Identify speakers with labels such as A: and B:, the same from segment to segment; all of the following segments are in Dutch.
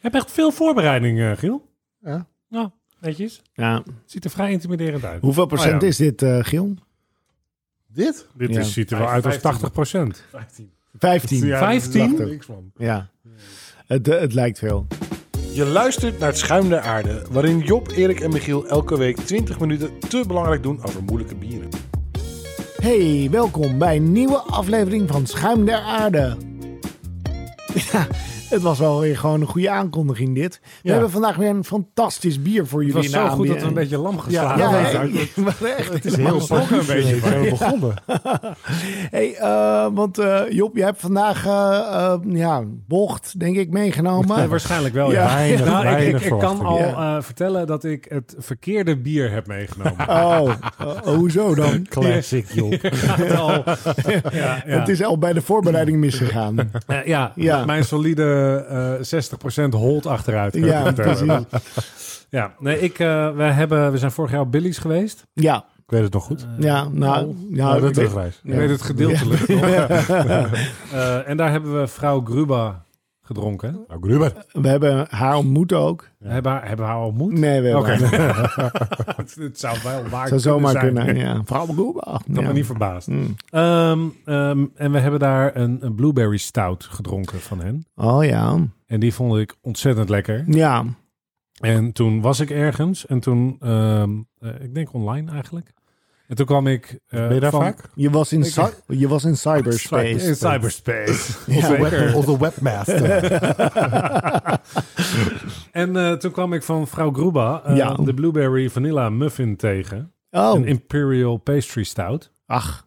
A: heb echt veel voorbereiding, eh, Giel.
B: Ja.
A: Nou, netjes.
C: Ja.
A: Het ziet er vrij intimiderend uit.
C: Hoeveel procent
A: Oh ja.
C: is dit, eh Giel?
B: Dit?
A: Dit
C: Ja.
A: is, ziet er wel uit als 80 procent.
B: 15.
C: 15. Ja.
B: Ja, dat is
A: 15?
B: prachtig. Niks van.
C: Het, eh, het lijkt veel.
B: Je luistert naar het Schuim der Aarde, waarin Job, Erik en Michiel elke week 20 minuten te belangrijk doen over moeilijke bieren.
C: Hey, welkom bij een nieuwe aflevering van Schuim der Aarde. Ja, het was wel weer gewoon een goede aankondiging dit. We
A: Ja.
C: hebben vandaag weer een fantastisch bier voor
A: Het
C: jullie
A: was
C: in
A: zo
C: de
A: goed dat
C: aanbieding.
A: we een beetje lam
C: Ja,
A: geslagen
C: ja,
A: zijn.
C: hey, maar echt.
A: Het is heel
C: spannend.
A: spannend een beetje. waar We begonnen.
C: Hey, eh, want eh, Job, je hebt vandaag eh, eh, ja, bocht, denk ik, meegenomen.
A: Ja, waarschijnlijk wel,
C: Ja.
A: ja.
C: Weinig,
A: Nou, ik- ik,
B: weinig
A: ik, kan
B: verwachting.
A: al
C: Ja.
A: eh, vertellen dat ik het verkeerde bier heb meegenomen.
C: Oh, eh, hoezo dan?
A: Classic, joh. al, ja, ja.
C: Het is al bij de voorbereiding misgegaan.
A: Eh, ja,
C: Ja.
A: mijn solide eh 60% hold achteruit. kan ik
C: ja,
A: je vertellen.
C: precies.
A: Ja, nee, ik, eh, we, hebben, we zijn vorig jaar op Billy's geweest.
C: Ja,
B: Ik weet het nog goed.
C: ja, nou, nou,
B: Nou, de
C: ik weet-
B: terugreis.
A: Ik weet het gedeeltelijk nog. Eh, en daar hebben we vrouw Gruba gedronken.
B: Nou, Gruber.
C: we hebben haar ontmoet ook.
A: Hebben, we haar- hebben we haar ontmoet?
C: Nee, we hebben
A: Oké.
C: haar- het
A: het, het zou wel waar
C: zou zomaar
A: zijn.
C: kunnen. Ja. Vrouw Goeba.
A: Ik had
C: Ja.
A: me niet verbaasd.
C: Hm.
A: Ehm, ehm, en we hebben daar een, een blueberry stout gedronken van hen.
C: Oh ja.
A: En die vond ik ontzettend lekker.
C: Ja,
A: En toen was ik ergens. En toen, ehm, eh, ik denk online eigenlijk. En toen kwam ik... eh,
B: Ben je daar
A: van-
B: vaak?
C: je was in,
A: Ik-
C: cy- je was in
A: In
C: cyberspace.
A: cyberspace.
C: Ja.
A: Zeker.
B: Onze webmaster.
A: En eh, toen kwam ik van vrouw Gruba eh,
C: Ja.
A: de blueberry vanilla muffin tegen. Een
C: Oh,
A: imperial pastry stout.
C: ach.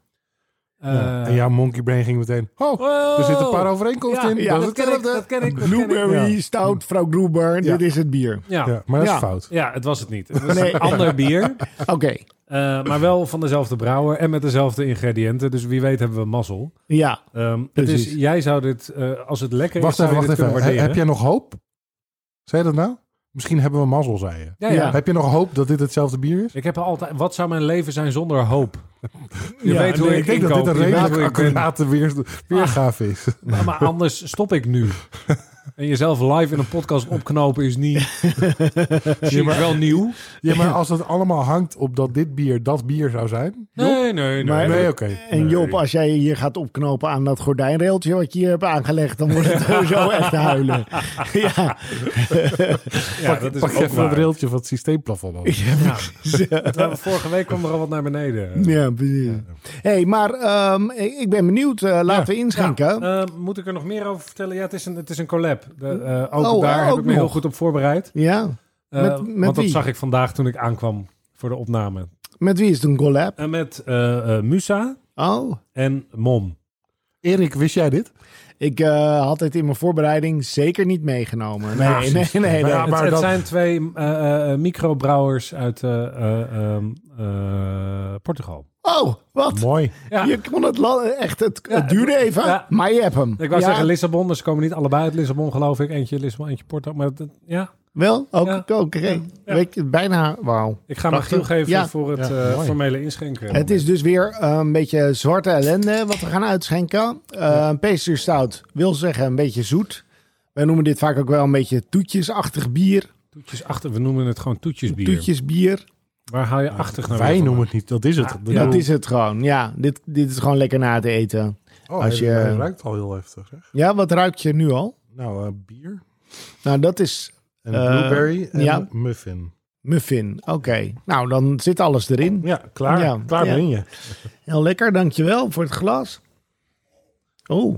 A: Eh,
B: en jouw monkey brain ging meteen. Oh,
A: wow.
B: er zitten een paar overeenkomsten
A: Ja,
B: in.
C: ja,
B: dat is
A: dat ken ik,
B: hetzelfde.
A: dat ken ik. dat ken ik.
C: Blueberry, stout, vrouw Gruber.
B: Ja.
C: Dit is het bier.
A: Ja.
B: Ja, maar dat is
C: Ja.
B: fout.
A: Ja, het was het niet. Het was
C: Nee.
A: een ander bier,
C: Oké,
A: eh, maar wel van dezelfde brouwer en met dezelfde ingrediënten. Dus wie weet hebben we mazzel.
C: ja.
A: Ehm, het is,
C: Precies.
A: jij zou dit, eh, als het lekker
B: Wacht
A: is,
B: even,
A: zou
B: wacht
A: je dit
B: even.
A: kunnen
B: He-
A: waarderen.
B: Heb jij nog hoop? Zei je dat nou? Misschien hebben we mazzel, zei je.
A: Ja, ja.
C: Ja.
B: Heb je nog hoop dat dit hetzelfde bier is?
A: Ik heb altijd, wat zou mijn leven zijn zonder hoop? Je
C: Ja,
A: weet hoe
B: Nee,
A: ik,
B: ik denk dat dit
A: inkoop,
B: een
A: je weet
B: redelijk
A: hoe ik ben.
B: accurate weer- weergave is.
A: Maar, maar anders stop ik nu. En jezelf live in een podcast opknopen is niet. Is wel nieuw.
B: Ja, maar als het allemaal hangt op dat dit bier dat bier zou zijn.
A: Nee, nee, nee.
C: Maar-
B: Nee, oké.
C: En Job, als jij je hier gaat opknopen aan dat gordijnrailtje wat je hier hebt aangelegd, dan wordt het sowieso echt huilen. Ja,
A: ja, dat is
B: Pak
A: ook
B: even
A: waar.
B: dat railtje van het systeemplafond af.
A: Ja. Nou, vorige week kwam er al wat naar beneden.
C: ja precies. hey, maar ehm, ik ik ben benieuwd. eh, laten we inschenken.
A: Ja, eh, moet ik er nog meer over vertellen? Ja, het is een, het is een collab. De, eh, ook
C: Oh,
A: daar
C: eh,
A: heb
C: ook
A: ik me heel
C: nog.
A: goed op voorbereid.
C: Ja.
A: Eh,
C: Met- met
A: want dat
C: wie?
A: zag ik vandaag toen ik aankwam voor de opname.
C: Met wie is het een collab?
A: En met eh, eh, Musa
C: Oh,
A: en Mom.
B: Erik, wist jij dit?
C: ik eh, had het in mijn voorbereiding zeker niet meegenomen. Nee, nee, nee. nee,
A: Ja,
B: Ja,
A: het,
B: maar
A: het
B: dat-
A: zijn twee eh, eh, eh, microbrouwers uit eh, eh, ehm, eh, Portugal.
C: Oh, wat?
B: Mooi.
A: Ja,
C: Je kon het la- echt, het,
A: Ja,
C: het duurde even,
A: ja.
C: maar je hebt hem.
A: ik wou
C: Ja,
A: zeggen Lissabon, maar ze komen niet allebei uit Lissabon, geloof ik. Eentje Lissabon, eentje Porto. Maar dat- ja,
C: Wel? Ook,
A: Ja.
C: oké. Weet je, bijna, wauw.
A: ik ga hem
B: Prachtig.
A: Giel geven
C: Ja.
A: voor het
B: Ja,
A: eh,
B: mooi.
A: formele inschenken.
C: Het is dus weer eh, een beetje zwarte ellende wat we gaan uitschenken. Eh Een pastry stout wil zeggen een beetje zoet. Wij noemen dit vaak ook wel een beetje toetjesachtig bier.
A: Toetjes achter, we noemen het gewoon toetjesbier.
C: Toetjesbier.
A: Waar haal je achtig naar
B: Wij noemen het niet, dat is het.
A: Ja,
B: bedoel-
C: Dat is het gewoon. Ja, dit, dit is gewoon lekker na te eten.
B: Oh,
C: als
B: hij-
C: je-
B: hij ruikt al heel heftig. Zeg.
C: Ja, wat ruikt je nu al?
B: Nou, eh, bier
C: Nou, dat is
B: en
C: Eh,
B: blueberry en
C: ja.
B: muffin.
C: muffin. Oké. Nou, dan zit alles erin.
B: Ja, klaar.
C: Ja,
B: klaar
C: ja.
B: ben je.
C: Heel lekker, dankjewel voor het glas. Oh,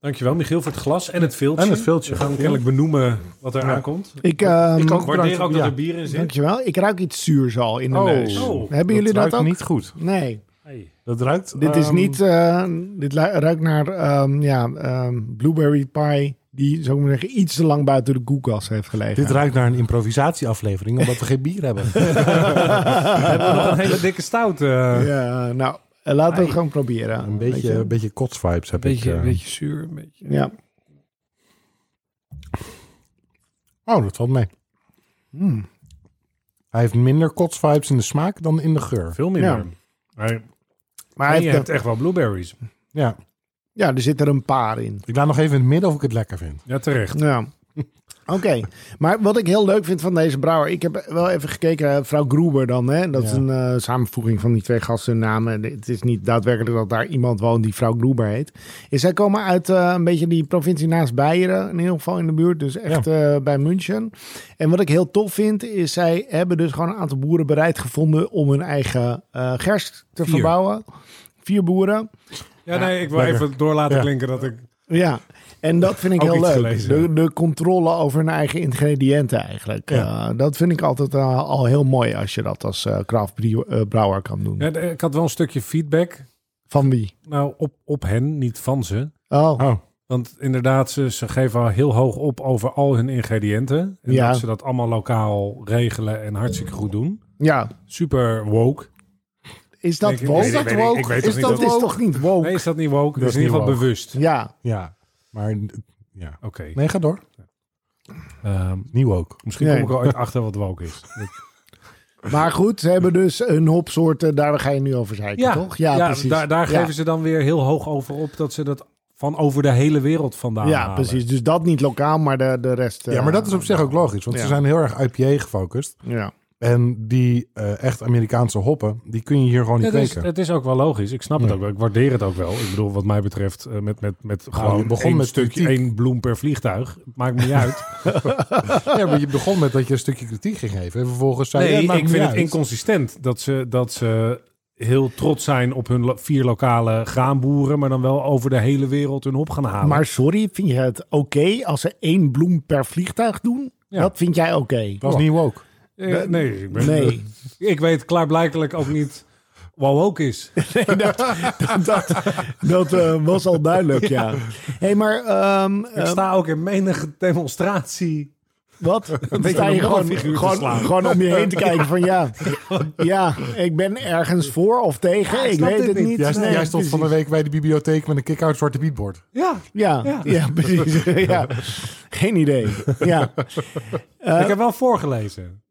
A: Dankjewel Michiel voor het glas en het filtje.
B: En het filtje.
A: We gaan kennelijk benoemen wat er aankomt.
C: ik, ehm
B: Ik ook.
A: Ik waardeer
B: bedankt.
A: ook dat
B: Ja.
A: er bier in zit.
C: dankjewel. Ik ruik iets zuurs al in de
B: Oh.
C: neus.
A: Oh.
C: Hebben jullie dat,
B: ruikt
C: ook?
B: niet goed.
C: Nee,
A: Hey.
B: Dat ruikt...
C: dit is
B: ehm,
C: niet. eh, dit lu- ruikt naar ehm, ja, ehm, blueberry pie die, zou ik maar zeggen, iets te lang buiten de koelkast heeft gelegen.
B: Dit ruikt naar een improvisatieaflevering, omdat we geen bier hebben.
A: Hebben we nog een hele dikke stout. eh.
C: Ja, nou, eh, laten we het gewoon proberen.
B: Een
C: Weet je?
B: beetje, een beetje kotsvibes heb ik. eh.
A: beetje zuur. Een beetje.
C: Ja.
B: Oh, dat valt mee. Hmm.
C: Mm.
B: Hij heeft minder kotsvibes in de smaak dan in de geur.
A: Veel minder.
C: Ja.
A: Maar,
C: Maar hij
A: je
C: heeft
A: hebt
C: een-
A: echt wel blueberries.
B: Ja,
C: ja, er zit er een paar in.
B: ik laat nog even in het midden of ik het lekker vind.
A: Ja, terecht.
C: Ja. Oké, maar wat ik heel leuk vind van deze brouwer, ik heb wel even gekeken, eh, vrouw Gruber dan, hè? dat is
A: Ja.
C: een eh, samenvoeging van die twee gasten hun namen. Het is niet daadwerkelijk dat daar iemand woont die vrouw Gruber heet. Is zij komen uit eh, een beetje die provincie naast Beieren, in ieder geval in de buurt, dus echt eh, bij München. En wat ik heel tof vind, is zij hebben dus gewoon een aantal boeren bereid gevonden om hun eigen eh, gerst te
A: Vier.
C: verbouwen. Vier boeren.
A: Ja, nee, ik wil
B: lekker.
A: even door laten
B: Ja.
A: klinken dat ik...
C: Ja, en dat vind ik
A: Ook
C: heel
A: iets
C: leuk.
A: gelezen.
C: De, de controle over hun eigen ingrediënten eigenlijk.
B: Ja.
C: Eh, dat vind ik altijd eh, al heel mooi als je dat als eh craft brew- eh, brouwer kan doen.
A: Ja, ik had wel een stukje feedback.
C: Van wie?
A: Nou, op, op hen, niet van ze.
C: Oh,
B: Oh,
A: Want inderdaad, ze, ze geven al heel hoog op over al hun ingrediënten. En
C: Ja.
A: dat ze dat allemaal lokaal regelen en hartstikke goed doen.
C: ja.
A: Super woke.
C: Is dat
A: Ik- ik
C: woke?
A: weet-
C: Is
A: ik
C: dat
B: weet- ik
C: woke?
B: weet toch
C: is
B: niet
C: dat
B: dat-
C: is toch niet woke?
A: Nee, is dat niet woke? Dat is in
B: niet
A: ieder geval
B: woke.
A: bewust. Oké.
C: Ja,
B: ja. Maar, n- ja. Nee,
A: Nee.
B: ga door. Nieuw ook.
A: Ehm, misschien
C: Nee.
A: kom ik er ooit achter wat woke is.
C: maar goed, ze hebben dus hun hopsoorten, daar ga je nu over zeiken, toch? Ja, precies.
A: Daar, daar
C: Ja.
A: geven ze dan weer heel hoog over op dat ze dat van over de hele wereld vandaan
C: Ja,
A: halen.
C: precies. Dus dat niet lokaal, maar de, de rest... eh,
B: Ja, maar dat is op zich ook logisch, want
C: Ja.
B: ze zijn heel erg IPA gefocust.
C: Ja.
B: En die eh, echt Amerikaanse hoppen, die kun je hier gewoon
A: Ja,
B: niet
A: dat is,
B: kweken.
A: het is ook wel logisch. Ik snap het
B: Ja.
A: ook wel. Ik waardeer het ook wel. Ik bedoel, wat mij betreft, eh, met, met, met
B: Nou,
A: gewoon
B: je begon
A: één
B: met
A: stukje,
B: kritiek.
A: één bloem per vliegtuig. Maakt niet uit.
B: Ja, maar je begon met dat je een stukje kritiek ging geven. En vervolgens zei je,
A: nee,
B: ja,
A: ik
B: maakt
A: vind
B: niet
A: het
B: uit.
A: inconsistent dat ze, dat ze heel trots zijn op hun lo- vier lokale graanboeren, maar dan wel over de hele wereld hun hop gaan halen.
C: Maar sorry, vind je het oké als ze één bloem per vliegtuig doen?
A: Ja.
C: Dat vind jij oké?
B: Dat was niet woke.
A: Eh, nee, ik ben-
C: Nee.
A: ik weet klaarblijkelijk ook niet wat ook is.
C: Dat eh, was al duidelijk, ja. hey, maar ehm,
A: Ik
C: ehm,
A: sta ook in menige demonstratie.
C: wat? Dan
A: beetje
C: sta
A: een
C: je gewoon,
A: rolfiguur te
C: gewoon,
A: slaan.
C: gewoon om je heen te kijken van ja, ja, ik ben ergens voor of tegen, ik,
A: snap
C: weet
A: dit
C: het
A: niet.
C: niet.
B: Jij,
C: Nee,
B: jij stond van de
C: precies.
B: week bij de bibliotheek met een kick-out zwarte beatboard.
A: Ja,
C: Ja, ja.
A: Ja.
C: precies. ja. Geen idee. Ja. Eh,
A: ik heb wel voorgelezen.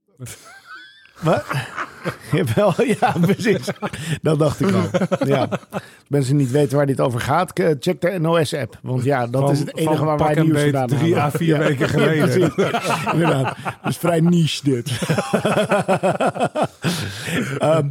C: Wat? Wel, ja, precies. Dat dacht ik al. Ja. Als mensen niet weten waar dit over gaat, k- check de NOS-app. Want ja, dat
A: Van-
C: is het enige
A: van
C: waar
A: pak
C: wij
A: en
C: nieuws
A: beet
C: vandaan
A: drie
C: halen.
A: à vier
C: Ja.
A: weken geleden.
C: Ja, precies. Inderdaad. Dus vrij niche dit. Ehm,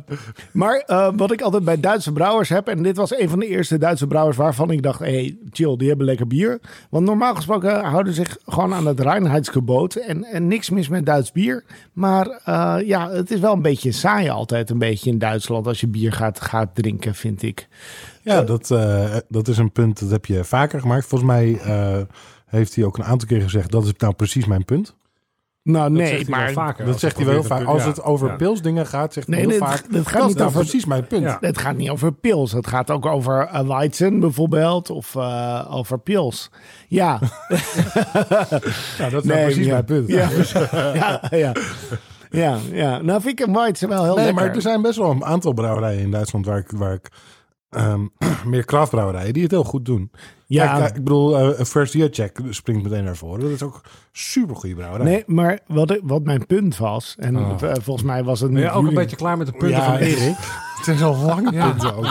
C: maar eh, wat ik altijd bij Duitse brouwers heb, en dit was een van de eerste Duitse brouwers waarvan ik dacht, hey, chill, die hebben lekker bier. Want normaal gesproken houden zich gewoon aan het reinheidsgebod en, en niks mis met Duits bier. Maar eh, ja, het is wel een beetje saai altijd een beetje in Duitsland als je bier gaat, gaat drinken, vind ik.
B: Ja, dat, eh, dat is een punt dat heb je vaker gemaakt. Volgens mij eh, heeft hij ook een aantal keer gezegd... dat is nou precies mijn punt.
C: Nou
A: Dat
C: nee,
A: zegt hij
C: maar
A: wel vaker.
B: dat
A: Als
B: zegt
A: hij
B: hij wel
A: probeert
B: vaak.
A: een punt-
B: Als het over
A: ja.
B: pilsdingen gaat, zegt hij
C: Nee,
B: heel
C: dit-
B: vaak...
C: dit gaat
B: dat is
C: niet
B: nou
C: over-
B: precies mijn punt.
A: Ja.
C: Het gaat niet over pils. Het gaat ook over uh, Weizen bijvoorbeeld. Of eh, over pils. Ja.
B: Ja, dat is nou precies
C: ja.
B: mijn punt.
C: Ja, precies. ja, ja. ja, ja. Nou vind ik een Weizen wel heel
B: Nee,
C: lekker.
B: maar er zijn best wel een aantal brouwerijen in Duitsland waar ik, waar ik ehm, meer kraftbrouwerijen die het heel goed doen.
C: Ja.
B: Kijk, eh, ik bedoel, eh, een First Year Check springt meteen naar voren. Dat is ook super goede brouwerij.
C: Nee, maar wat, ik- wat mijn punt was, en eh, volgens mij was het
A: Ah. Ben
C: niet
A: je ook een
C: jullie-
A: beetje klaar met de punten
B: ja,
A: van Erik?
B: Erik. Het is al lang
A: Ja.
B: punten ook.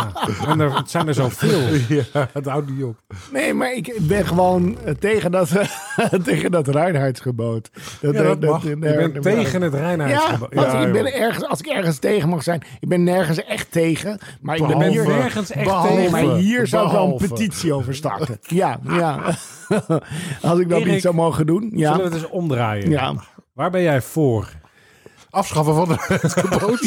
A: En er het zijn er zoveel.
B: Ja, het houdt niet op.
C: Nee, maar ik ben gewoon eh, tegen dat, tegen dat reinheidsgebod. Dat,
B: Ja, dat mag.
A: Je bent tegen het
C: Ja,
A: Rijnhuis.
C: als, ik ben ergens, als ik ergens tegen mag zijn, ik ben nergens echt tegen. Maar ik ben
A: bent
C: hier,
A: nergens echt
C: behalve,
A: tegen.
C: Maar hier zou ik wel een
B: Behalve.
C: petitie over starten. Ja, ja. als ik dat
A: Erik,
C: niet zou mogen doen.
A: Zullen we
C: Ja,
A: het eens omdraaien?
C: ja.
A: Waar ben jij voor?
B: Afschaffen van het gebod.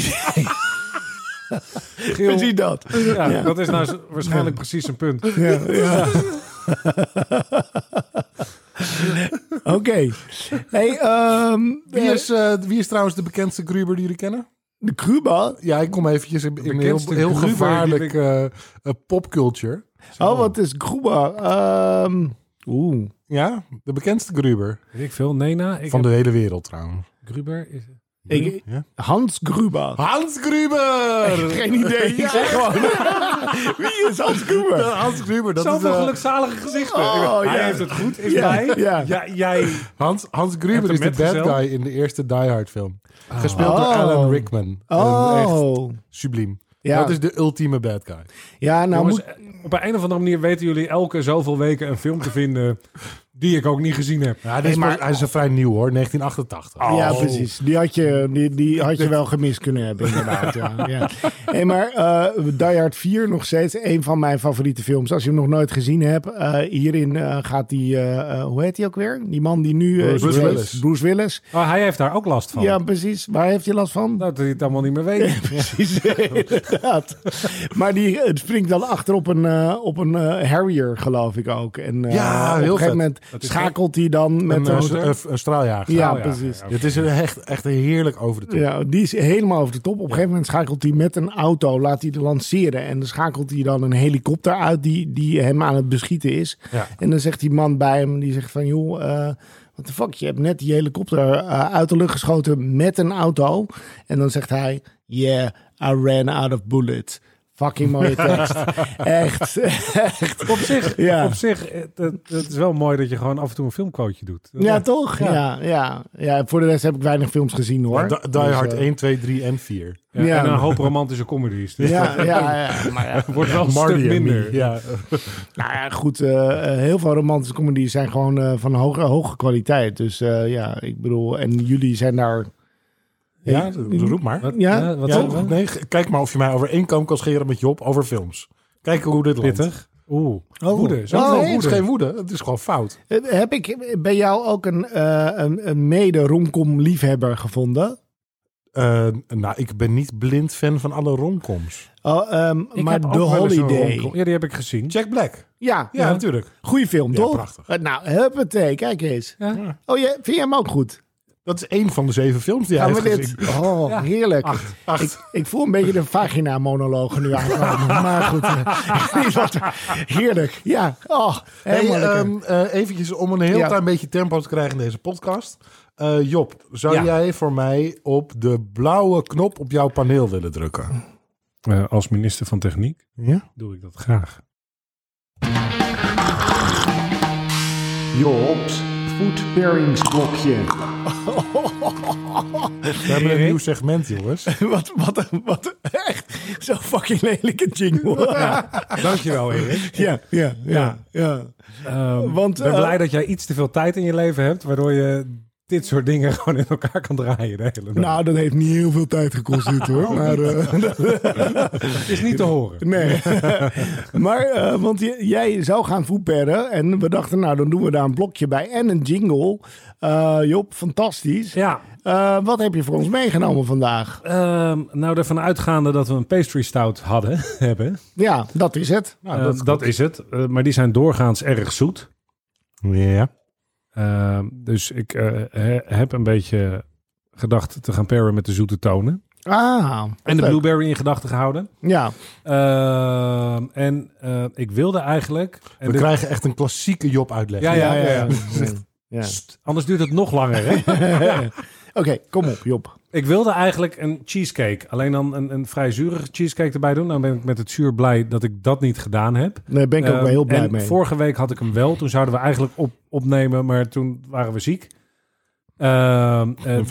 A: Geel,
C: precies dat.
A: ja, Dat is nou z- waarschijnlijk precies een punt.
C: Ja, ja. Oké. Hey, ehm,
B: Wie is, eh, wie is trouwens de bekendste Gruber die jullie kennen?
C: de Cuba.
B: Ja, ik kom eventjes in, in heel,
A: bekendste
B: heel
A: Gruber die
B: gevaarlijk
A: ik-
B: eh, eh, popculture.
C: Oh, wat is Cuba? Ehm, Oeh.
B: Ja, de bekendste Gruber
A: Weet ik veel? Nena? Ik
B: van
A: heb-
B: de hele wereld trouwens.
A: Gruber? Is,
C: Ik,
B: Ja?
C: Hans Gruber.
B: Hans Gruber!
C: Geen idee. Ik zeg gewoon. Wie is Hans Gruber?
B: Hans Gruber, dat is...
A: Zoveel
B: eh,
A: gelukzalige gezichten.
C: Oh,
A: Hij
C: ja.
A: heeft het goed, is
C: Ja,
A: bij.
C: ja.
A: Ja, jij
B: Hans, Hans Gruber
A: Heeft
B: is de
A: een
B: bad
A: metgezel.
B: guy in de eerste Die Hard film. Gespeeld door
C: Oh.
B: Alan Rickman. En Echt
C: Oh.
B: subliem.
C: Ja.
B: Dat is de ultieme bad guy.
C: Ja, nou
A: Jongens,
C: moet...
A: eh, op een of andere manier weten jullie elke zoveel weken een film te vinden Die ik ook niet gezien heb.
B: Ja, dit is
C: Hey, maar-
B: pas- hij is een vrij nieuw hoor, 1988.
C: Ja,
A: Oh.
C: precies. Die had je, die, die had je wel gemist kunnen hebben, inderdaad. ja. Ja. Hey, maar eh Die Hard 4, nog steeds een van mijn favoriete films. Als je hem nog nooit gezien hebt, eh, hierin eh, gaat die, eh, eh, hoe heet die ook weer? Die man die nu... eh,
B: Bruce
C: is-
B: Willis.
C: Bruce Willis.
A: Oh, hij heeft daar ook last van. Nou,
C: Ja, precies. Waar heeft hij last van?
A: Dat hij het allemaal niet meer weet.
C: Precies, inderdaad. Maar die eh, springt dan achter op een, eh, op een eh, Harrier, geloof ik ook. En, eh,
B: Ja,
C: op
B: heel
C: een gegeven
B: vet.
C: moment
A: Dat is
C: schakelt hij dan met...
B: Een,
C: een-
B: eh,
A: motor.
B: een, een straaljager.
C: ja,
A: Oh, ja,
C: precies.
A: ja,
B: Dit is een echt, echt een heerlijk over de top.
C: Ja, die is helemaal over de top. Op een gegeven moment schakelt hij met een auto, laat hij de lanceren. En dan schakelt hij dan een helikopter uit die, die hem aan het beschieten is.
B: Ja.
C: En dan zegt die man bij hem, die zegt van... joh, eh wat de fuck, je hebt net die helikopter eh, uit de lucht geschoten met een auto. En dan zegt hij, yeah, I ran out of bullets. Fucking mooie tekst. echt, echt.
A: Op zich,
C: Ja.
A: op zich eh, het, het is wel mooi dat je gewoon af en toe een filmquoteje doet.
C: Ja, toch?
A: Ja.
C: Ja. Ja, ja. voor de rest heb ik weinig films gezien, hoor.
B: Die, die
C: Dus,
B: Hard
C: eh,
B: 1, 2, 3 en 4.
A: Ja,
C: Ja.
A: En een hoop romantische comedies. Dus
C: eh, Ja, ja, ja, maar ja.
A: dat wordt wel een
B: Marty
A: stuk
B: en me.
A: minder.
B: Ja.
C: Nou ja, goed. eh, eh, heel veel romantische comedies zijn gewoon eh, van hoge, hoge kwaliteit. Dus eh, ja, ik bedoel, en jullie zijn daar.
B: ja, roep maar.
A: Wat,
C: Ja.
A: eh, wat
B: Ja,
A: zeggen we?
B: nee, g- kijk maar of je mij over één kam kan scheren met Job over films. Kijk hoe dit landt.
A: Pittig. Oeh, woede. Zo
B: Oh,
A: veel
B: nee, het
A: woede.
B: is geen woede. Het is gewoon fout.
C: Eh, Heb ik bij jou ook een, eh, een, een mede-romcom-liefhebber gevonden?
B: Eh, nou, ik ben niet blind fan van alle romcoms.
C: Oh, ehm,
A: Ik
C: maar
A: heb ook
C: The
A: wel eens een romcom.
C: Holiday.
A: Ja, die heb ik gezien.
B: Jack Black.
C: Ja,
B: Ja,
A: Ja.
B: natuurlijk.
C: goede film,
B: Ja,
C: toch?
B: prachtig.
C: Eh, nou, huppatee, kijk eens.
A: Ja.
B: Ja.
C: Oh, jij, vind jij hem ook goed?
B: Dat is één van de zeven films die hij
C: Gaan we
B: heeft
C: dit?
B: gezien.
C: Oh,
A: Ja.
C: heerlijk.
B: Acht.
C: Ik, ik voel een beetje de vagina-monologen nu aankomen. maar goed, eh, niet wat- heerlijk. Ja, oh, helemaal
B: Ah, Hey,
C: lekker.
B: ehm, eh, eventjes om een heel
C: Ja.
B: klein beetje tempo te krijgen in deze podcast. Eh, Job, zou
A: Ja.
B: jij voor mij op de blauwe knop op jouw paneel willen drukken?
A: Eh, als minister van Techniek
B: Ja.
A: doe ik dat graag.
D: Jobs voetberingsblokje.
B: We hebben een nieuw segment, jongens.
C: Wat, wat, wat echt zo fucking lelijke jingle. Ja,
A: Dankjewel, Erik.
C: ja, ja.
A: Ja. Ehm,
C: ja, Want,
A: ik ben
C: eh,
A: blij dat jij iets te veel tijd in je leven hebt, waardoor je dit soort dingen gewoon in elkaar kan draaien de hele dag.
C: Nou, dat heeft niet heel veel tijd gekost dit
A: Oh.
C: hoor. Maar, eh,
A: het is niet te horen.
C: nee. maar, eh, want j- jij zou gaan voetperren. En we dachten, nou, dan doen we daar een blokje bij en een jingle. Eh Job, fantastisch.
A: Ja,
C: Eh, wat heb je voor ons meegenomen vandaag?
A: ehm, nou ervan uitgaande dat we een pastry stout hadden, hebben,
C: Ja, dat is het.
B: Nou,
A: eh, dat, is het. Eh, maar die zijn doorgaans erg zoet. Ehm,
B: Ja.
A: Eh, dus ik eh, he- heb een beetje gedacht te gaan pairen met de zoete tonen.
C: Ah,
A: En de
C: leuk.
A: blueberry in gedachten gehouden.
C: Ja,
A: Eh, en eh, ik wilde eigenlijk... En
B: We
A: dit-
B: krijgen echt een klassieke Job uitleg.
A: Ja, ja, ja. ja.
C: ja.
A: Pst, anders duurt het nog langer, hè?
C: Oké, kom op, Job.
A: Ik wilde eigenlijk een cheesecake. Alleen dan een, een vrij zurige cheesecake erbij doen. Nou ben ik met het zuur blij dat ik dat niet gedaan heb.
C: Daar ben ik ook
A: Ehm,
C: wel heel blij
A: en
C: mee.
A: Vorige week had ik hem wel. Toen zouden we eigenlijk op, opnemen, maar toen waren we ziek. Ehm, eh,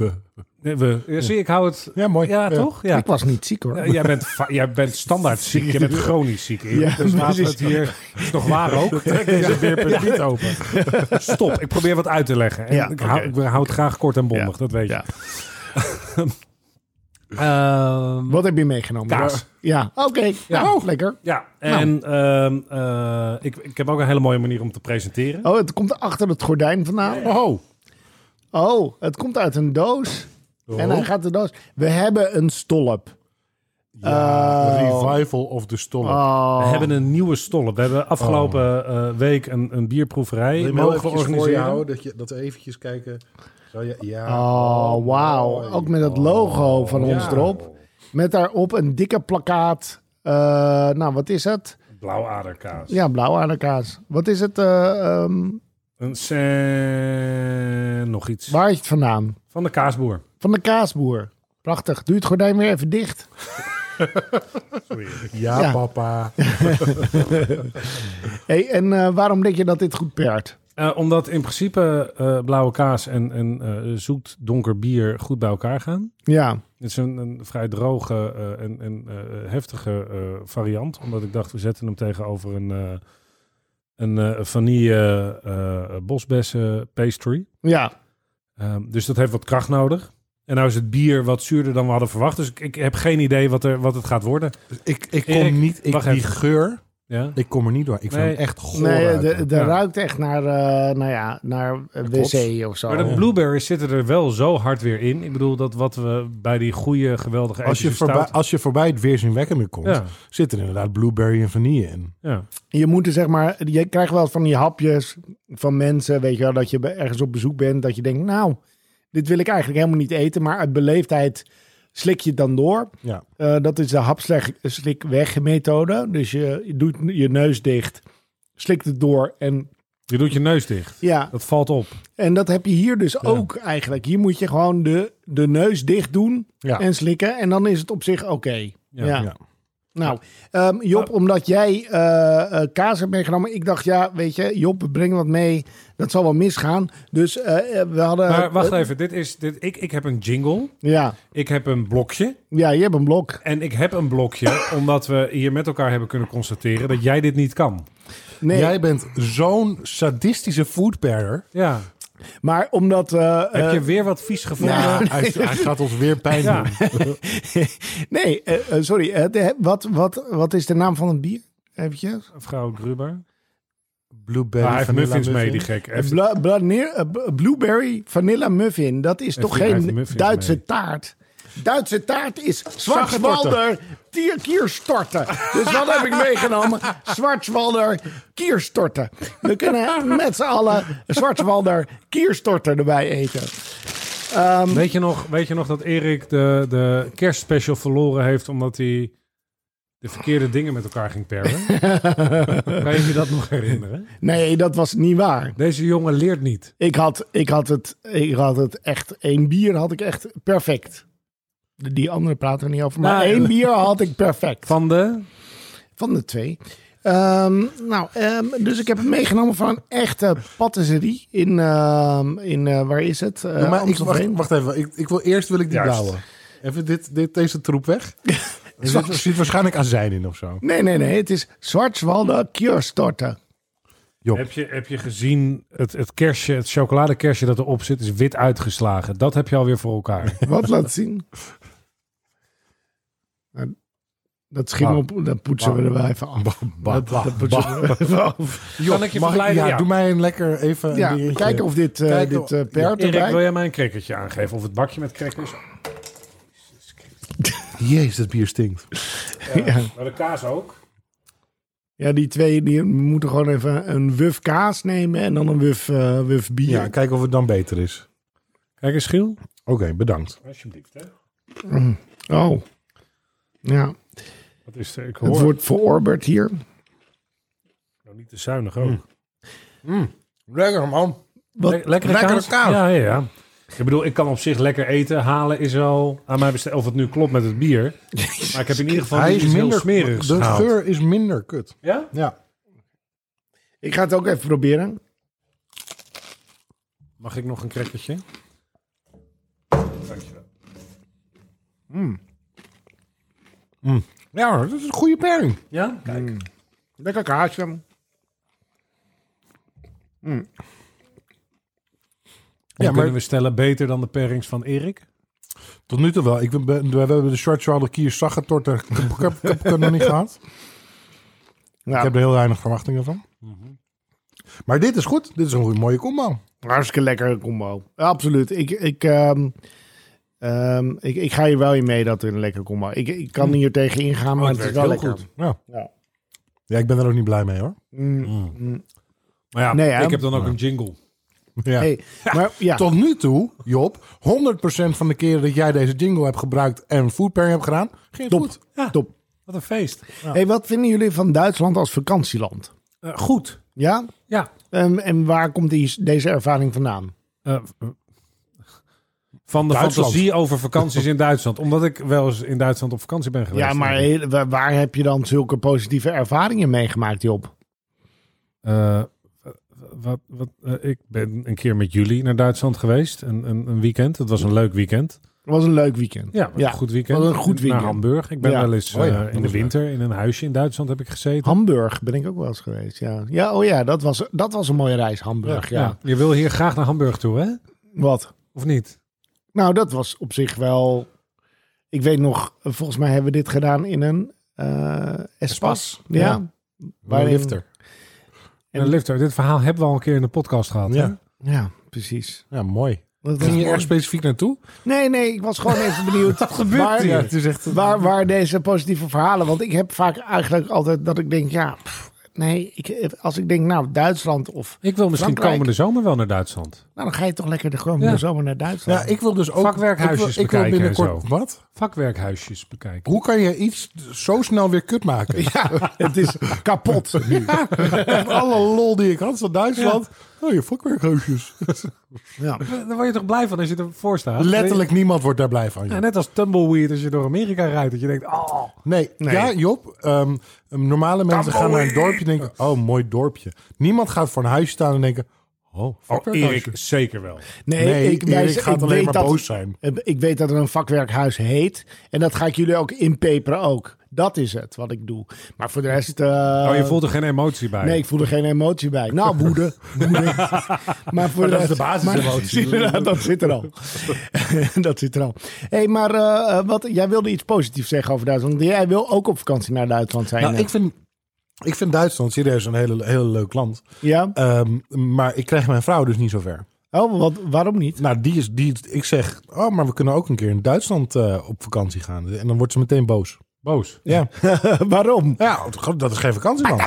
A: we, ja, zie, ik hou het.
B: Ja, mooi.
A: Ja, toch? Ja.
C: eh, Ik was niet ziek hoor.
A: Ja, jij, bent, va- jij bent standaard ziek. Je bent chronisch ziek. Erik.
C: Ja,
A: dus laten we het
C: precies.
A: hier. Is nog waar ook? Trek deze weer ja. niet open. Stop. Ik probeer wat uit te leggen. En
C: Ja,
A: ik, hou,
C: oké.
A: ik hou het graag kort en bondig. Dat weet je.
C: Ja.
A: Ehm,
C: Wat heb je meegenomen?
A: Kaas.
C: Ja, oké. Nou, lekker.
A: Ja,
C: Nou.
A: en ehm, eh, ik, ik heb ook een hele mooie manier om te presenteren.
C: Oh, het komt achter het gordijn vandaan.
B: Oh,
C: Oh, het komt uit een doos. En
A: Oh.
C: hij gaat de doos. We hebben een stolp.
B: ja.
C: Oh.
B: Revival of the Storm.
C: Oh.
A: We hebben een nieuwe stolp. We hebben afgelopen eh, week een, een bierproeverij
B: Wil je me heel
A: mogen
B: eventjes voor je
A: organiseren.
B: houden? Dat, je, dat we eventjes kijken. Zou je, ja.
C: Oh, wauw.
B: mooi.
C: Ook met het logo van
B: Ja.
C: ons erop. Met daarop een dikke plakkaat. Eh, nou, wat is het?
A: Blauwaderkaas.
C: Ja, blauw aan de kaas. Wat is het? eh, ehm,
A: Een sen... Nog iets.
C: waar is het vandaan?
A: Van de kaasboer.
C: Van de kaasboer. Prachtig. Doe het gordijn weer even dicht.
B: Ja,
C: Ja.
B: papa.
C: Hey, en eh, waarom denk je dat dit goed pert?
A: Eh, omdat in principe eh, blauwe kaas en, en eh, zoet donker bier goed bij elkaar gaan.
C: Ja.
A: Het is een, een vrij droge eh, en, en eh, heftige eh, variant. Omdat ik dacht, we zetten hem tegenover een, eh, een eh vanille eh, bosbessen pastry.
C: Ja,
A: Ehm, dus dat heeft wat kracht nodig. En nou is het bier wat zuurder dan we hadden verwacht. Dus ik, ik heb geen idee wat, er, wat het gaat worden.
B: Ik, ik kom
A: Dus Erik,
B: niet... Ik,
A: wacht
B: die
A: even.
B: geur,
A: Ja.
B: ik kom er niet door. Ik vind
A: Nee.
B: hem echt goor
C: nee,
B: ruiken.
C: de, de
A: Ja.
C: ruikt echt naar, eh, nou ja, naar eh,
B: klopt.
C: wc of zo.
A: Maar de blueberries zitten er wel zo hard weer in. Ik bedoel, dat wat we bij die goede, geweldige
B: als, je
A: Epische
B: voorbij,
A: stout-
B: als je voorbij het weerzinwekkende komt,
A: Ja,
B: zit er inderdaad blueberry en vanille in.
A: ja.
C: Je moet er zeg maar, je krijgt wel van die hapjes van mensen, weet je wel, dat je be- ergens op bezoek bent, dat je denkt, nou, dit wil ik eigenlijk helemaal niet eten, maar uit beleefdheid slik je het dan door.
B: Ja.
C: Eh, dat is de hapslik-weg-methode. Dus je, je doet je neus dicht, slikt het door en
A: Je doet je neus dicht.
C: ja,
A: Dat valt op.
C: en dat heb je hier dus ook eigenlijk. Hier moet je gewoon de, de neus dicht doen
B: Ja.
C: en slikken en dan is het op zich oké.
A: Ja,
C: ja.
B: ja.
C: Nou, ehm, Job, omdat jij eh, eh, kaas hebt meegenomen. Ik dacht, ja, weet je, Job, breng wat mee. Dat zal wel misgaan. Dus eh, eh, we hadden...
A: Maar wacht
C: eh,
A: even, dit is, dit, ik, ik heb een jingle.
C: ja.
A: Ik heb een blokje.
C: ja, je hebt een blok.
A: En ik heb een blokje, omdat we hier met elkaar hebben kunnen constateren dat jij dit niet kan.
C: Nee,
B: Jij bent zo'n sadistische foodbearer.
A: Ja.
C: maar omdat... eh,
A: heb je
C: eh,
A: weer wat vies gevonden?
B: Ja, hij, hij gaat ons weer pijn
A: Ja.
B: doen.
C: nee, eh, eh, sorry. eh, de- wat, wat, wat is de naam van het bier? Eventjes.
A: Mevrouw Gruber.
B: Blueberry,
A: Nou, hij heeft
B: vanilla
A: muffins mee,
B: muffin.
A: die gek. Hij heeft-
C: Bla, bla- neer- eh, b- blueberry Vanilla Muffin. Dat is toch
A: Even kijken,
C: geen
A: muffins
C: Duitse
A: mee.
C: taart? Duitse taart is Zwartswalder kierstorten. Dus wat heb ik meegenomen? Zwartswalder kierstorten. We kunnen met z'n allen Zwartswalder kierstorten erbij eten.
A: Weet, je nog, weet je nog dat Erik de, de kerstspecial verloren heeft omdat hij de verkeerde dingen met elkaar ging perren? kan je je dat nog herinneren?
C: Nee, dat was niet waar.
A: Deze jongen leert niet.
C: Ik had, ik had, het, ik had het echt, één bier had ik echt perfect. Die andere praten we niet over. Maar
A: Nou,
C: één bier had ik perfect.
A: Van de...
C: Van de twee. Ehm, nou, ehm, dus ik heb het meegenomen van een echte patisserie in, ehm, in eh, waar is het? Eh,
B: Ja, maar ik, wacht,
C: Amstelveen.
B: wacht even, ik, ik wil eerst wil ik die
A: Juist.
B: blauwe. Even dit, dit, deze troep weg. Er zit, er zit waarschijnlijk azijn in of zo.
C: Nee, nee, nee. Het is Zwartswalde Kierstorten.
A: Heb je, heb je gezien, het, het kerstje, het chocoladekerstje dat erop zit, is wit uitgeslagen. Dat heb je alweer voor elkaar.
C: Wat laat zien? Nou, Dat schiet me
A: Wauw.
C: op. Dat poetsen we er wel even af. Dat, dat poetsen we er wel af.
A: kan ik je
B: Mag ik,
A: verleiden?
B: ja,
A: Ja.
B: doe mij een lekker even een
C: Ja,
B: biertje.
C: kijken of dit, eh,
B: Kijken of-
C: dit eh pert
A: Erik, wil
C: erbij...
A: jij mij een crackertje aangeven? Of het bakje met crackers? Eh,
B: Jezus, dat bier stinkt.
C: Ja.
A: Maar de kaas ook.
C: Ja, die twee die moeten gewoon even een wuf kaas nemen en dan een wuf, eh, wuf bier.
B: Ja, kijken of het dan beter is.
A: Kijk eens, Giel.
B: Oké, bedankt.
A: Alsjeblieft, hè.
C: Oh. Ja,
A: Wat is er? Ik hoor
C: het wordt verorberd hier.
A: nou niet te zuinig ook.
B: Lekker man.
C: Wat-
A: Le- lekkere
B: lekkere
A: kaas?
B: kaas.
A: Ja, ja, ja. Ik bedoel, ik kan op zich lekker eten. Halen is al aan mij besteld. Of het nu klopt met het bier. Maar ik heb in ieder geval
B: Hij
A: iets
B: is
A: heel
B: minder
A: smerigs
B: De
A: gehaald.
B: geur is minder kut.
A: Ja?
B: Ja.
C: Ik ga het ook even proberen.
A: Mag ik nog een crackertje?
B: Ja, dat is een goede pairing.
A: Ja? Kijk.
C: Lekker kaasje.
A: Ja,
B: Ja,
A: kunnen
B: maar
A: we stellen beter dan de pairings van Erik?
B: tot nu toe wel. Ik ben, ben- we hebben de short shoulder kier saggetort er ik heb- ik heb ik heb nog niet gehad.
C: Ja,
B: Ik heb er heel weinig verwachtingen van. Maar dit is goed. Dit is een goede, mooie combo.
C: Hartstikke lekkere combo. Ja, absoluut. Ik, ik, ehm, ehm, ik, ik ga hier wel in mee dat het een lekkere combo is. Ik, ik kan hier tegen ingaan, maar Oh, het is wel lekker.
B: Ja.
C: Ja.
B: ja, ik ben er ook niet blij mee hoor.
C: Mm.
A: Maar ja,
C: Nee, hè?
A: ik heb dan ook een jingle.
B: Ja.
C: Hey, maar ja,
B: Tot nu toe, Job, 100% van de keren dat jij deze jingle hebt gebruikt en een food pairing hebt gedaan, ging het
C: Top.
B: goed.
A: Ja,
C: top.
A: wat een feest.
C: Hey, wat vinden jullie van Duitsland als vakantieland?
A: Eh, goed.
C: Ja?
A: Ja.
C: Ehm, en waar komt die, deze ervaring vandaan?
A: Eh, van de
B: Duitsland.
A: fantasie over vakanties in Duitsland. Omdat ik wel eens in Duitsland op vakantie ben geweest.
C: Ja, maar heel- wa- waar heb je dan zulke positieve ervaringen meegemaakt, Job?
A: Eh, wat, wat, eh, ik ben een keer met jullie naar Duitsland geweest. Een, een, een weekend. Het was een leuk weekend.
C: Het was een leuk weekend.
A: Ja, wat
C: Ja,
A: een goed weekend.
C: wat een goed weekend.
A: Naar Hamburg. Ik ben
C: Ja.
A: wel eens
B: Oh ja,
A: eh, in de
B: Hamburg.
A: winter in een huisje in Duitsland heb ik gezeten.
C: Hamburg ben ik ook wel eens geweest. Ja, ja oh ja, dat was, dat was een mooie reis, Hamburg. Ja.
A: Je wil hier graag naar Hamburg toe, hè?
C: Wat?
A: Of niet?
C: Nou, dat was op zich wel. Ik weet nog, eh, volgens mij hebben we dit gedaan in een eh Espas. Ja.
B: Ja. Bij
C: Waarin-
B: lifter.
A: En de lifter. Dit verhaal hebben we al een keer in de podcast gehad. hè?
B: Ja.
C: ja, precies.
B: ja, mooi.
C: Dat was
B: Ging je
C: mooi.
B: erg specifiek naartoe?
C: Nee, nee, ik was gewoon even benieuwd. Wat gebeurt waar,
B: Ja, het is echt...
C: Waar, waar deze positieve verhalen. Want ik heb vaak eigenlijk altijd dat ik denk, ja, pff, nee, ik, als ik denk, nou, Duitsland of.
A: Ik wil misschien
C: Frankrijk.
A: komende zomer wel naar Duitsland.
C: Nou, dan ga je toch lekker de gewoon
A: Ja.
C: de zomer naar Duitsland.
B: Ja, ik wil dus ook...
A: Vakwerkhuisjes
B: ik wil, ik wil
A: bekijken en
B: binnenkort... Wat?
A: Vakwerkhuisjes bekijken.
B: Hoe kan je iets zo snel weer kut maken?
C: Ja, het is kapot.
B: Echt alle lol die ik had van Duitsland. Oh, je vakwerkhuisjes.
C: Ja.
A: Daar word je toch blij van als je ervoor staat?
B: Letterlijk niemand wordt daar blij van.
A: Ja,
B: joh.
A: net als tumbleweed als je door Amerika rijdt. Dat je denkt, oh.
B: Nee,
C: Nee.
B: ja, Job. ehm, normale mensen gaan naar een dorpje en denken: oh, mooi dorpje. Niemand gaat voor een huisje staan en denken: oh, vakwerkhuisje.
A: zeker wel.
C: Nee,
B: Nee,
C: ik,
B: Erik
C: wij-
B: gaat
C: ik
B: alleen
C: weet
B: maar
C: dat-
B: boos zijn.
C: eh, Ik weet dat er een vakwerkhuis heet. En dat ga ik jullie ook inpeperen ook. Dat is het wat ik doe. Maar voor de rest... eh,
A: Oh, je voelt er geen emotie bij.
C: Nee, ik voel er geen emotie bij. Nou, woede. woede. maar voor
B: dat is de
C: rest-
B: basisemotie.
C: maar- Inderdaad, dat zit er al. dat zit er al. Hé, hey, maar eh, wat, jij wilde iets positiefs zeggen over Duitsland. Want Jij wil ook op vakantie naar Duitsland zijn.
B: Nou,
C: hè?
B: ik vind, ik vind Duitsland serieus een heel hele leuk land.
C: Ja?
B: Ehm, maar ik krijg mijn vrouw dus niet zo ver.
C: Oh, wat, waarom niet?
B: Nou, die is, die, ik zeg: oh, maar we kunnen ook een keer in Duitsland eh, op vakantie gaan. En dan wordt ze meteen boos.
A: Boos.
B: Ja,
C: waarom?
B: ja dat is geen vakantie dan.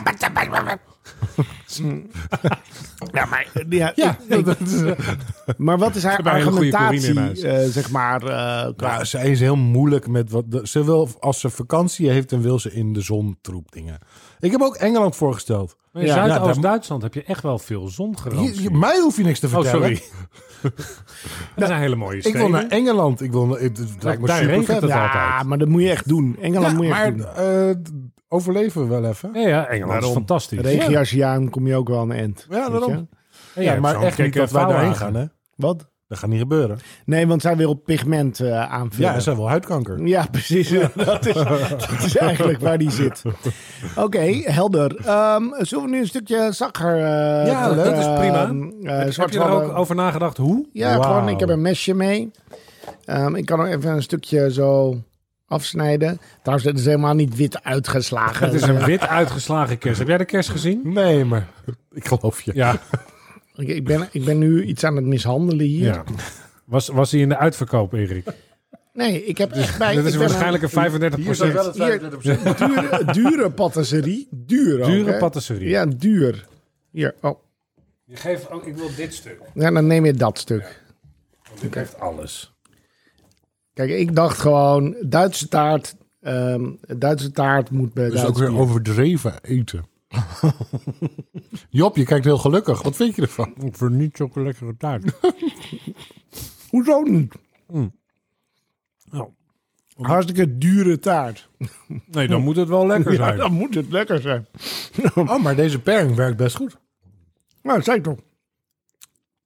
C: Ja, maar, ja,
B: Ja,
C: ik-
B: eh,
C: ik-
B: dat is,
C: maar wat is haar
A: hebben een hele goede
C: argumentatie,
A: Corine in
C: eh, zeg maar? eh, qua-
B: Nou, zij is heel moeilijk met wat. de- Ze wil, als ze vakantie heeft, dan wil ze in de zon troep dingen. Ik heb ook Engeland voorgesteld. nou,
A: Maar in
C: Ja,
A: Zuidoost-Duitsland heb je echt wel veel
B: Je-
A: zongarantie.
B: je- mij hoef je niks te
A: Oh,
B: vertellen.
A: sorry. dat zijn hele mooie
B: Ik
A: steden.
B: wil naar Engeland. Ik wil, naar- het- het lijkt me
A: daar
B: super
A: regent het.
B: vet.
C: ja,
A: altijd.
C: maar dat moet je echt doen. Engeland
B: Ja,
C: moet je echt
B: maar
C: doen.
B: eh, d- overleven we wel even.
A: Ja, ja, Engeland
B: Daarom.
A: is fantastisch.
C: Regenjasje aan, kom je ook wel aan de end.
B: Ja,
C: weet
B: daarom.
C: je?
A: Ja,
B: Ja, maar
A: zo'n
B: echt niet
A: gekke
B: dat wij daarheen
A: vouwwagen.
B: gaan. Hè?
C: Wat?
B: Dat gaat niet gebeuren.
C: Nee, want zij wil pigment eh,
B: Ja,
C: aanvullen.
B: en zij wil huidkanker.
C: Ja, precies. Dat, is, dat is eigenlijk waar die zit. Oké, helder. Ehm, zullen we nu een stukje zakker... eh,
B: Ja, leuk,
C: eh,
A: dat is prima.
C: eh,
A: Heb
C: zwart
A: je er ook
C: hadden?
A: over nagedacht hoe?
C: Ja,
B: Wauw.
C: gewoon, ik heb een mesje mee. Ehm, ik kan er even een stukje zo afsnijden. Trouwens, het is helemaal niet wit uitgeslagen.
A: Het is een wit uitgeslagen kerst. Heb jij de kerst gezien?
B: Nee, maar ik geloof je.
A: Ja.
C: Ik, ik, ben, ik ben nu iets aan het mishandelen hier.
A: ja. Was, was hij in de uitverkoop, Erik?
C: Nee, ik heb echt bij...
A: Dit
C: ik
A: is
C: ben
A: waarschijnlijk een 35
C: aan- hier, dure, dure patisserie. Duur ook,
A: dure
C: hè?
A: patisserie.
C: Ja, duur. Hier, oh.
A: Je geeft ook, ik wil dit stuk.
C: Ja, dan neem je dat stuk.
A: Want dit heeft alles.
C: Kijk, ik dacht gewoon, Duitse taart, ehm, Duitse taart moet bij
B: Dus ook
C: Duitse
B: weer
C: bier.
B: overdreven eten. Job, je kijkt heel gelukkig. Wat vind je ervan?
A: Ik vind niet zo'n lekkere taart.
C: Hoezo niet?
B: Oh.
C: Hartstikke dure taart.
A: Nee,
C: Hm.
A: dan moet het wel lekker
C: Ja,
A: zijn.
C: dan moet het lekker zijn.
B: Oh, maar deze pairing werkt best goed.
C: Nou, zei ik toch.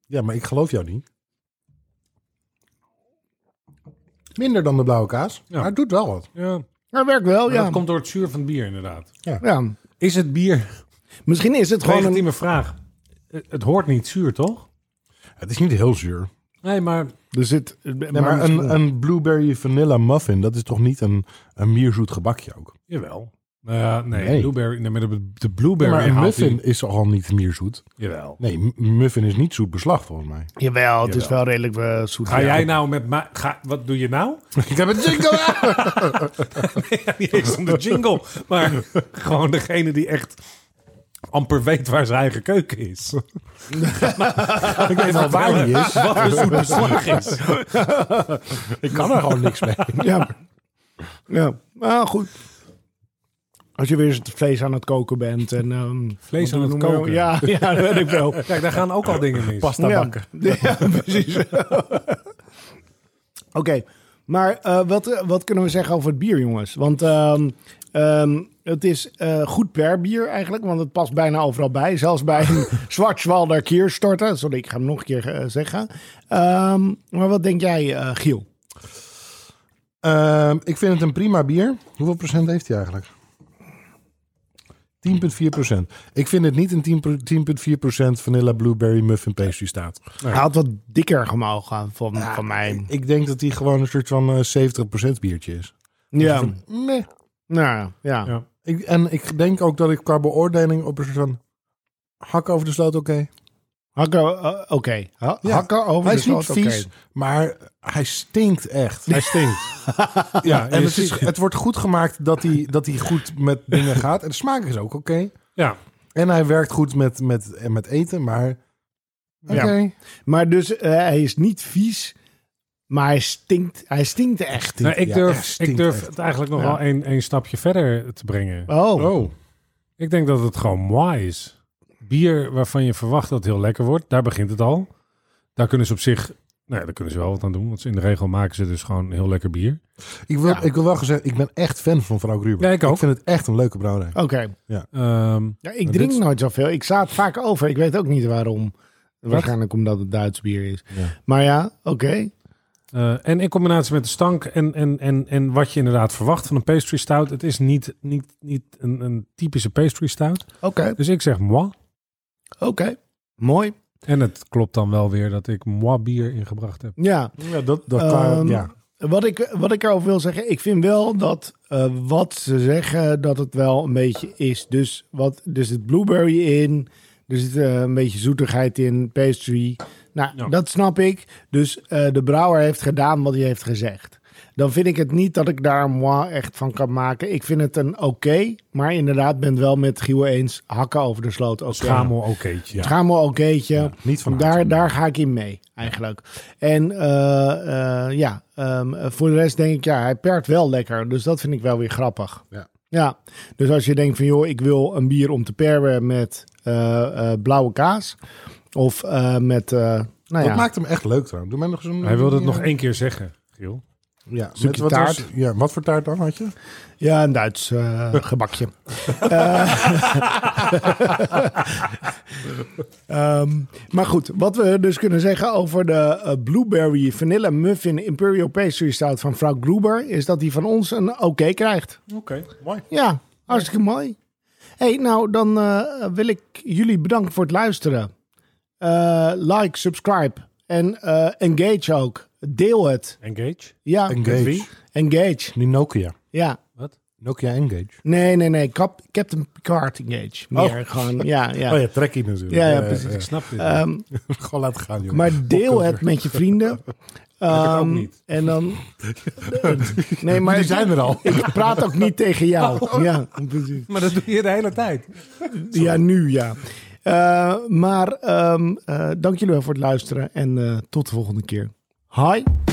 B: Ja, maar ik geloof jou niet. Minder dan de blauwe kaas. Maar het doet wel wat.
A: Ja, maar
C: Dat werkt wel, ja.
A: Dat komt door het zuur van het bier, inderdaad.
C: ja.
A: Is het bier?
C: Misschien is het gewoon een...
A: Legitieme vraag. Het het hoort niet zuur, toch?
B: Het is niet heel zuur.
A: Nee, maar
C: Er zit...
B: Nee, maar een, een blueberry vanilla muffin, dat is toch niet een, een mierzoet gebakje ook?
A: Jawel. Nou ja, nee,
B: Nee.
A: Blueberry, nee, maar de, de blueberry
B: maar een
A: haalt
B: muffin
A: die-
B: is toch al niet mierzoet?
A: Jawel.
B: Nee, m- muffin is niet zoet beslag volgens mij.
C: Jawel, het is wel redelijk eh, zoet.
A: Ga
C: Ja.
A: jij nou met mij... Ga, wat doe je nou?
B: Ik heb een jingle!
A: Ja, niet eens om de jingle. Maar gewoon degene die echt amper weet waar zijn eigen keuken is.
B: ik weet wel waar die is.
A: Wat een zoet beslag is.
B: Ik kan er gewoon niks mee.
C: Ja. ja. Maar goed. Als je weer eens het vlees aan het koken bent en... ehm,
A: Vlees
C: wat
A: aan het
C: noem je-
A: koken.
C: Ja, ja, dat weet ik wel.
A: Kijk, daar gaan ook al dingen mis.
B: Pasta
C: ja.
B: bakken.
C: Ja, precies. Oké, maar eh, wat, eh, wat kunnen we zeggen over het bier, jongens? Want ehm, ehm, het is eh, goed per bier eigenlijk, want het past bijna overal bij. Zelfs bij een Schwarzwalder Kierstorten. Sorry, ik ga hem nog een keer eh, zeggen. Ehm, maar wat denk jij, eh, Giel?
B: Ehm, ik vind het een prima bier. Hoeveel procent heeft hij eigenlijk? 10,4 procent. Ik vind het niet in 10 pro- 10,4 procent vanilla blueberry muffin pastry staat.
C: Hij had wat dikker gemogen van, van mij.
B: Ik denk dat hij gewoon een soort van eh, 70 procent biertje is.
C: Ja,
B: Meh.
C: nou ja.
A: Ja.
B: Ik, en ik denk ook dat ik qua beoordeling op een soort van hak over de sloot oké.
C: Hakken, eh, oké. Ha-
B: Ja.
C: Hakken over
B: Hij
C: de
B: is niet
C: sloot, oké.
B: vies, maar hij stinkt echt.
A: Hij stinkt.
B: Ja, en
A: je
B: het, is,
A: ziet-
B: het wordt goed gemaakt dat hij, dat hij goed met dingen gaat. En de smaak is ook oké.
A: ja.
B: En hij werkt goed met, met, en met eten, maar... Oké.
C: Maar dus eh, hij is niet vies, maar hij stinkt, hij stinkt echt.
A: Nou, ik
B: ja, echt,
A: durf,
B: stinkt
A: ik durf
B: echt.
A: het eigenlijk nog
C: Ja.
A: wel één één stapje verder te brengen.
C: Oh,
A: Ik denk dat het gewoon mooi is. Bier waarvan je verwacht dat het heel lekker wordt, daar begint het al. Daar kunnen ze op zich, nou ja, daar kunnen ze wel wat aan doen. Want ze- in de regel maken ze dus gewoon heel lekker bier.
B: Ik, wil, ik wil wel gezegd, ik ben echt fan van vrouw Gruber.
A: Ja, ik ook.
B: vind het echt een leuke brouwerij.
C: oké.
A: Ehm,
C: Ja, ik drink
B: dit-
C: nooit zoveel. Ik sla het vaak over. Ik weet ook niet waarom. Waarschijnlijk omdat het Duits bier is.
B: Ja.
C: Maar ja, oké.
A: eh, en in combinatie met de stank en, en, en, en wat je inderdaad verwacht van een pastry stout. Het is niet, niet, niet een, een typische pastry stout.
C: Oké,
A: Dus ik zeg moi.
C: oké. Mooi.
A: En het klopt dan wel weer dat ik moi bier ingebracht heb.
C: Ja,
B: Ja, dat, dat
C: Ehm,
B: ja.
C: Wat ik, wat ik erover wil zeggen, ik vind wel dat eh, wat ze zeggen, dat het wel een beetje is. Dus wat, er zit blueberry in, er zit eh, een beetje zoetigheid in, pastry. Nou,
A: Ja.
C: dat snap ik. Dus eh, de brouwer heeft gedaan wat hij heeft gezegd. Dan vind ik het niet dat ik daar moi echt van kan maken. Ik vind het een oké, maar inderdaad ben het wel met Giel eens hakken over de sloot. oké.
A: Schamel okéetje.
C: Het Schamel okéetje.
B: niet van
C: Daar, daar ga ik in mee, eigenlijk. En eh, eh, ja, ehm, voor de rest denk ik, ja, hij pert wel lekker. Dus dat vind ik wel weer grappig.
B: Ja.
C: Ja, dus als je denkt van, joh, ik wil een bier om te perren met eh, eh, blauwe kaas. Of eh, met, eh, nou
B: Dat
C: ja.
B: maakt hem echt leuk trouwens. Doe mij nog eens een...
A: Hij wilde het
B: ja.
A: nog één keer zeggen, Giel.
B: Ja,
C: Stukje
B: met wat
C: taart.
B: was- ja, wat voor taart dan had je?
C: Ja, een Duits eh, gebakje. Eh, ehm, maar goed, wat we dus kunnen zeggen over de eh, Blueberry Vanilla Muffin Imperial Pastry Stout van Frank Gruber... is dat die van ons een oké krijgt.
A: Oké, mooi.
C: Ja, hartstikke mooi. hey, nou dan eh, wil ik jullie bedanken voor het luisteren. Eh, like, subscribe en eh, engage ook. Deel het.
A: Engage.
C: Ja,
B: Engage.
A: wie?
C: engage.
B: Nu Nokia.
C: Ja.
A: Wat?
B: Nokia Engage.
C: Nee, nee, nee. Cap Captain Picard Engage. Meer
B: Oh.
C: gewoon, ja, ja.
B: Oh ja, trekkie natuurlijk.
C: Ja, ja,
B: Eh,
C: precies.
A: Ik
B: eh,
A: snap dit.
C: Ehm,
B: gewoon laten gaan, joh.
C: maar deel het met je vrienden.
A: ook
C: Ehm,
A: niet.
C: En dan... Nee, maar...
B: Die zijn er al.
C: Ik praat ook niet tegen jou. Ja, precies.
A: maar dat doe je de hele tijd.
C: Ja, nu ja. Eh, maar ehm, eh, dank jullie wel voor het luisteren en eh, tot de volgende keer. Hi.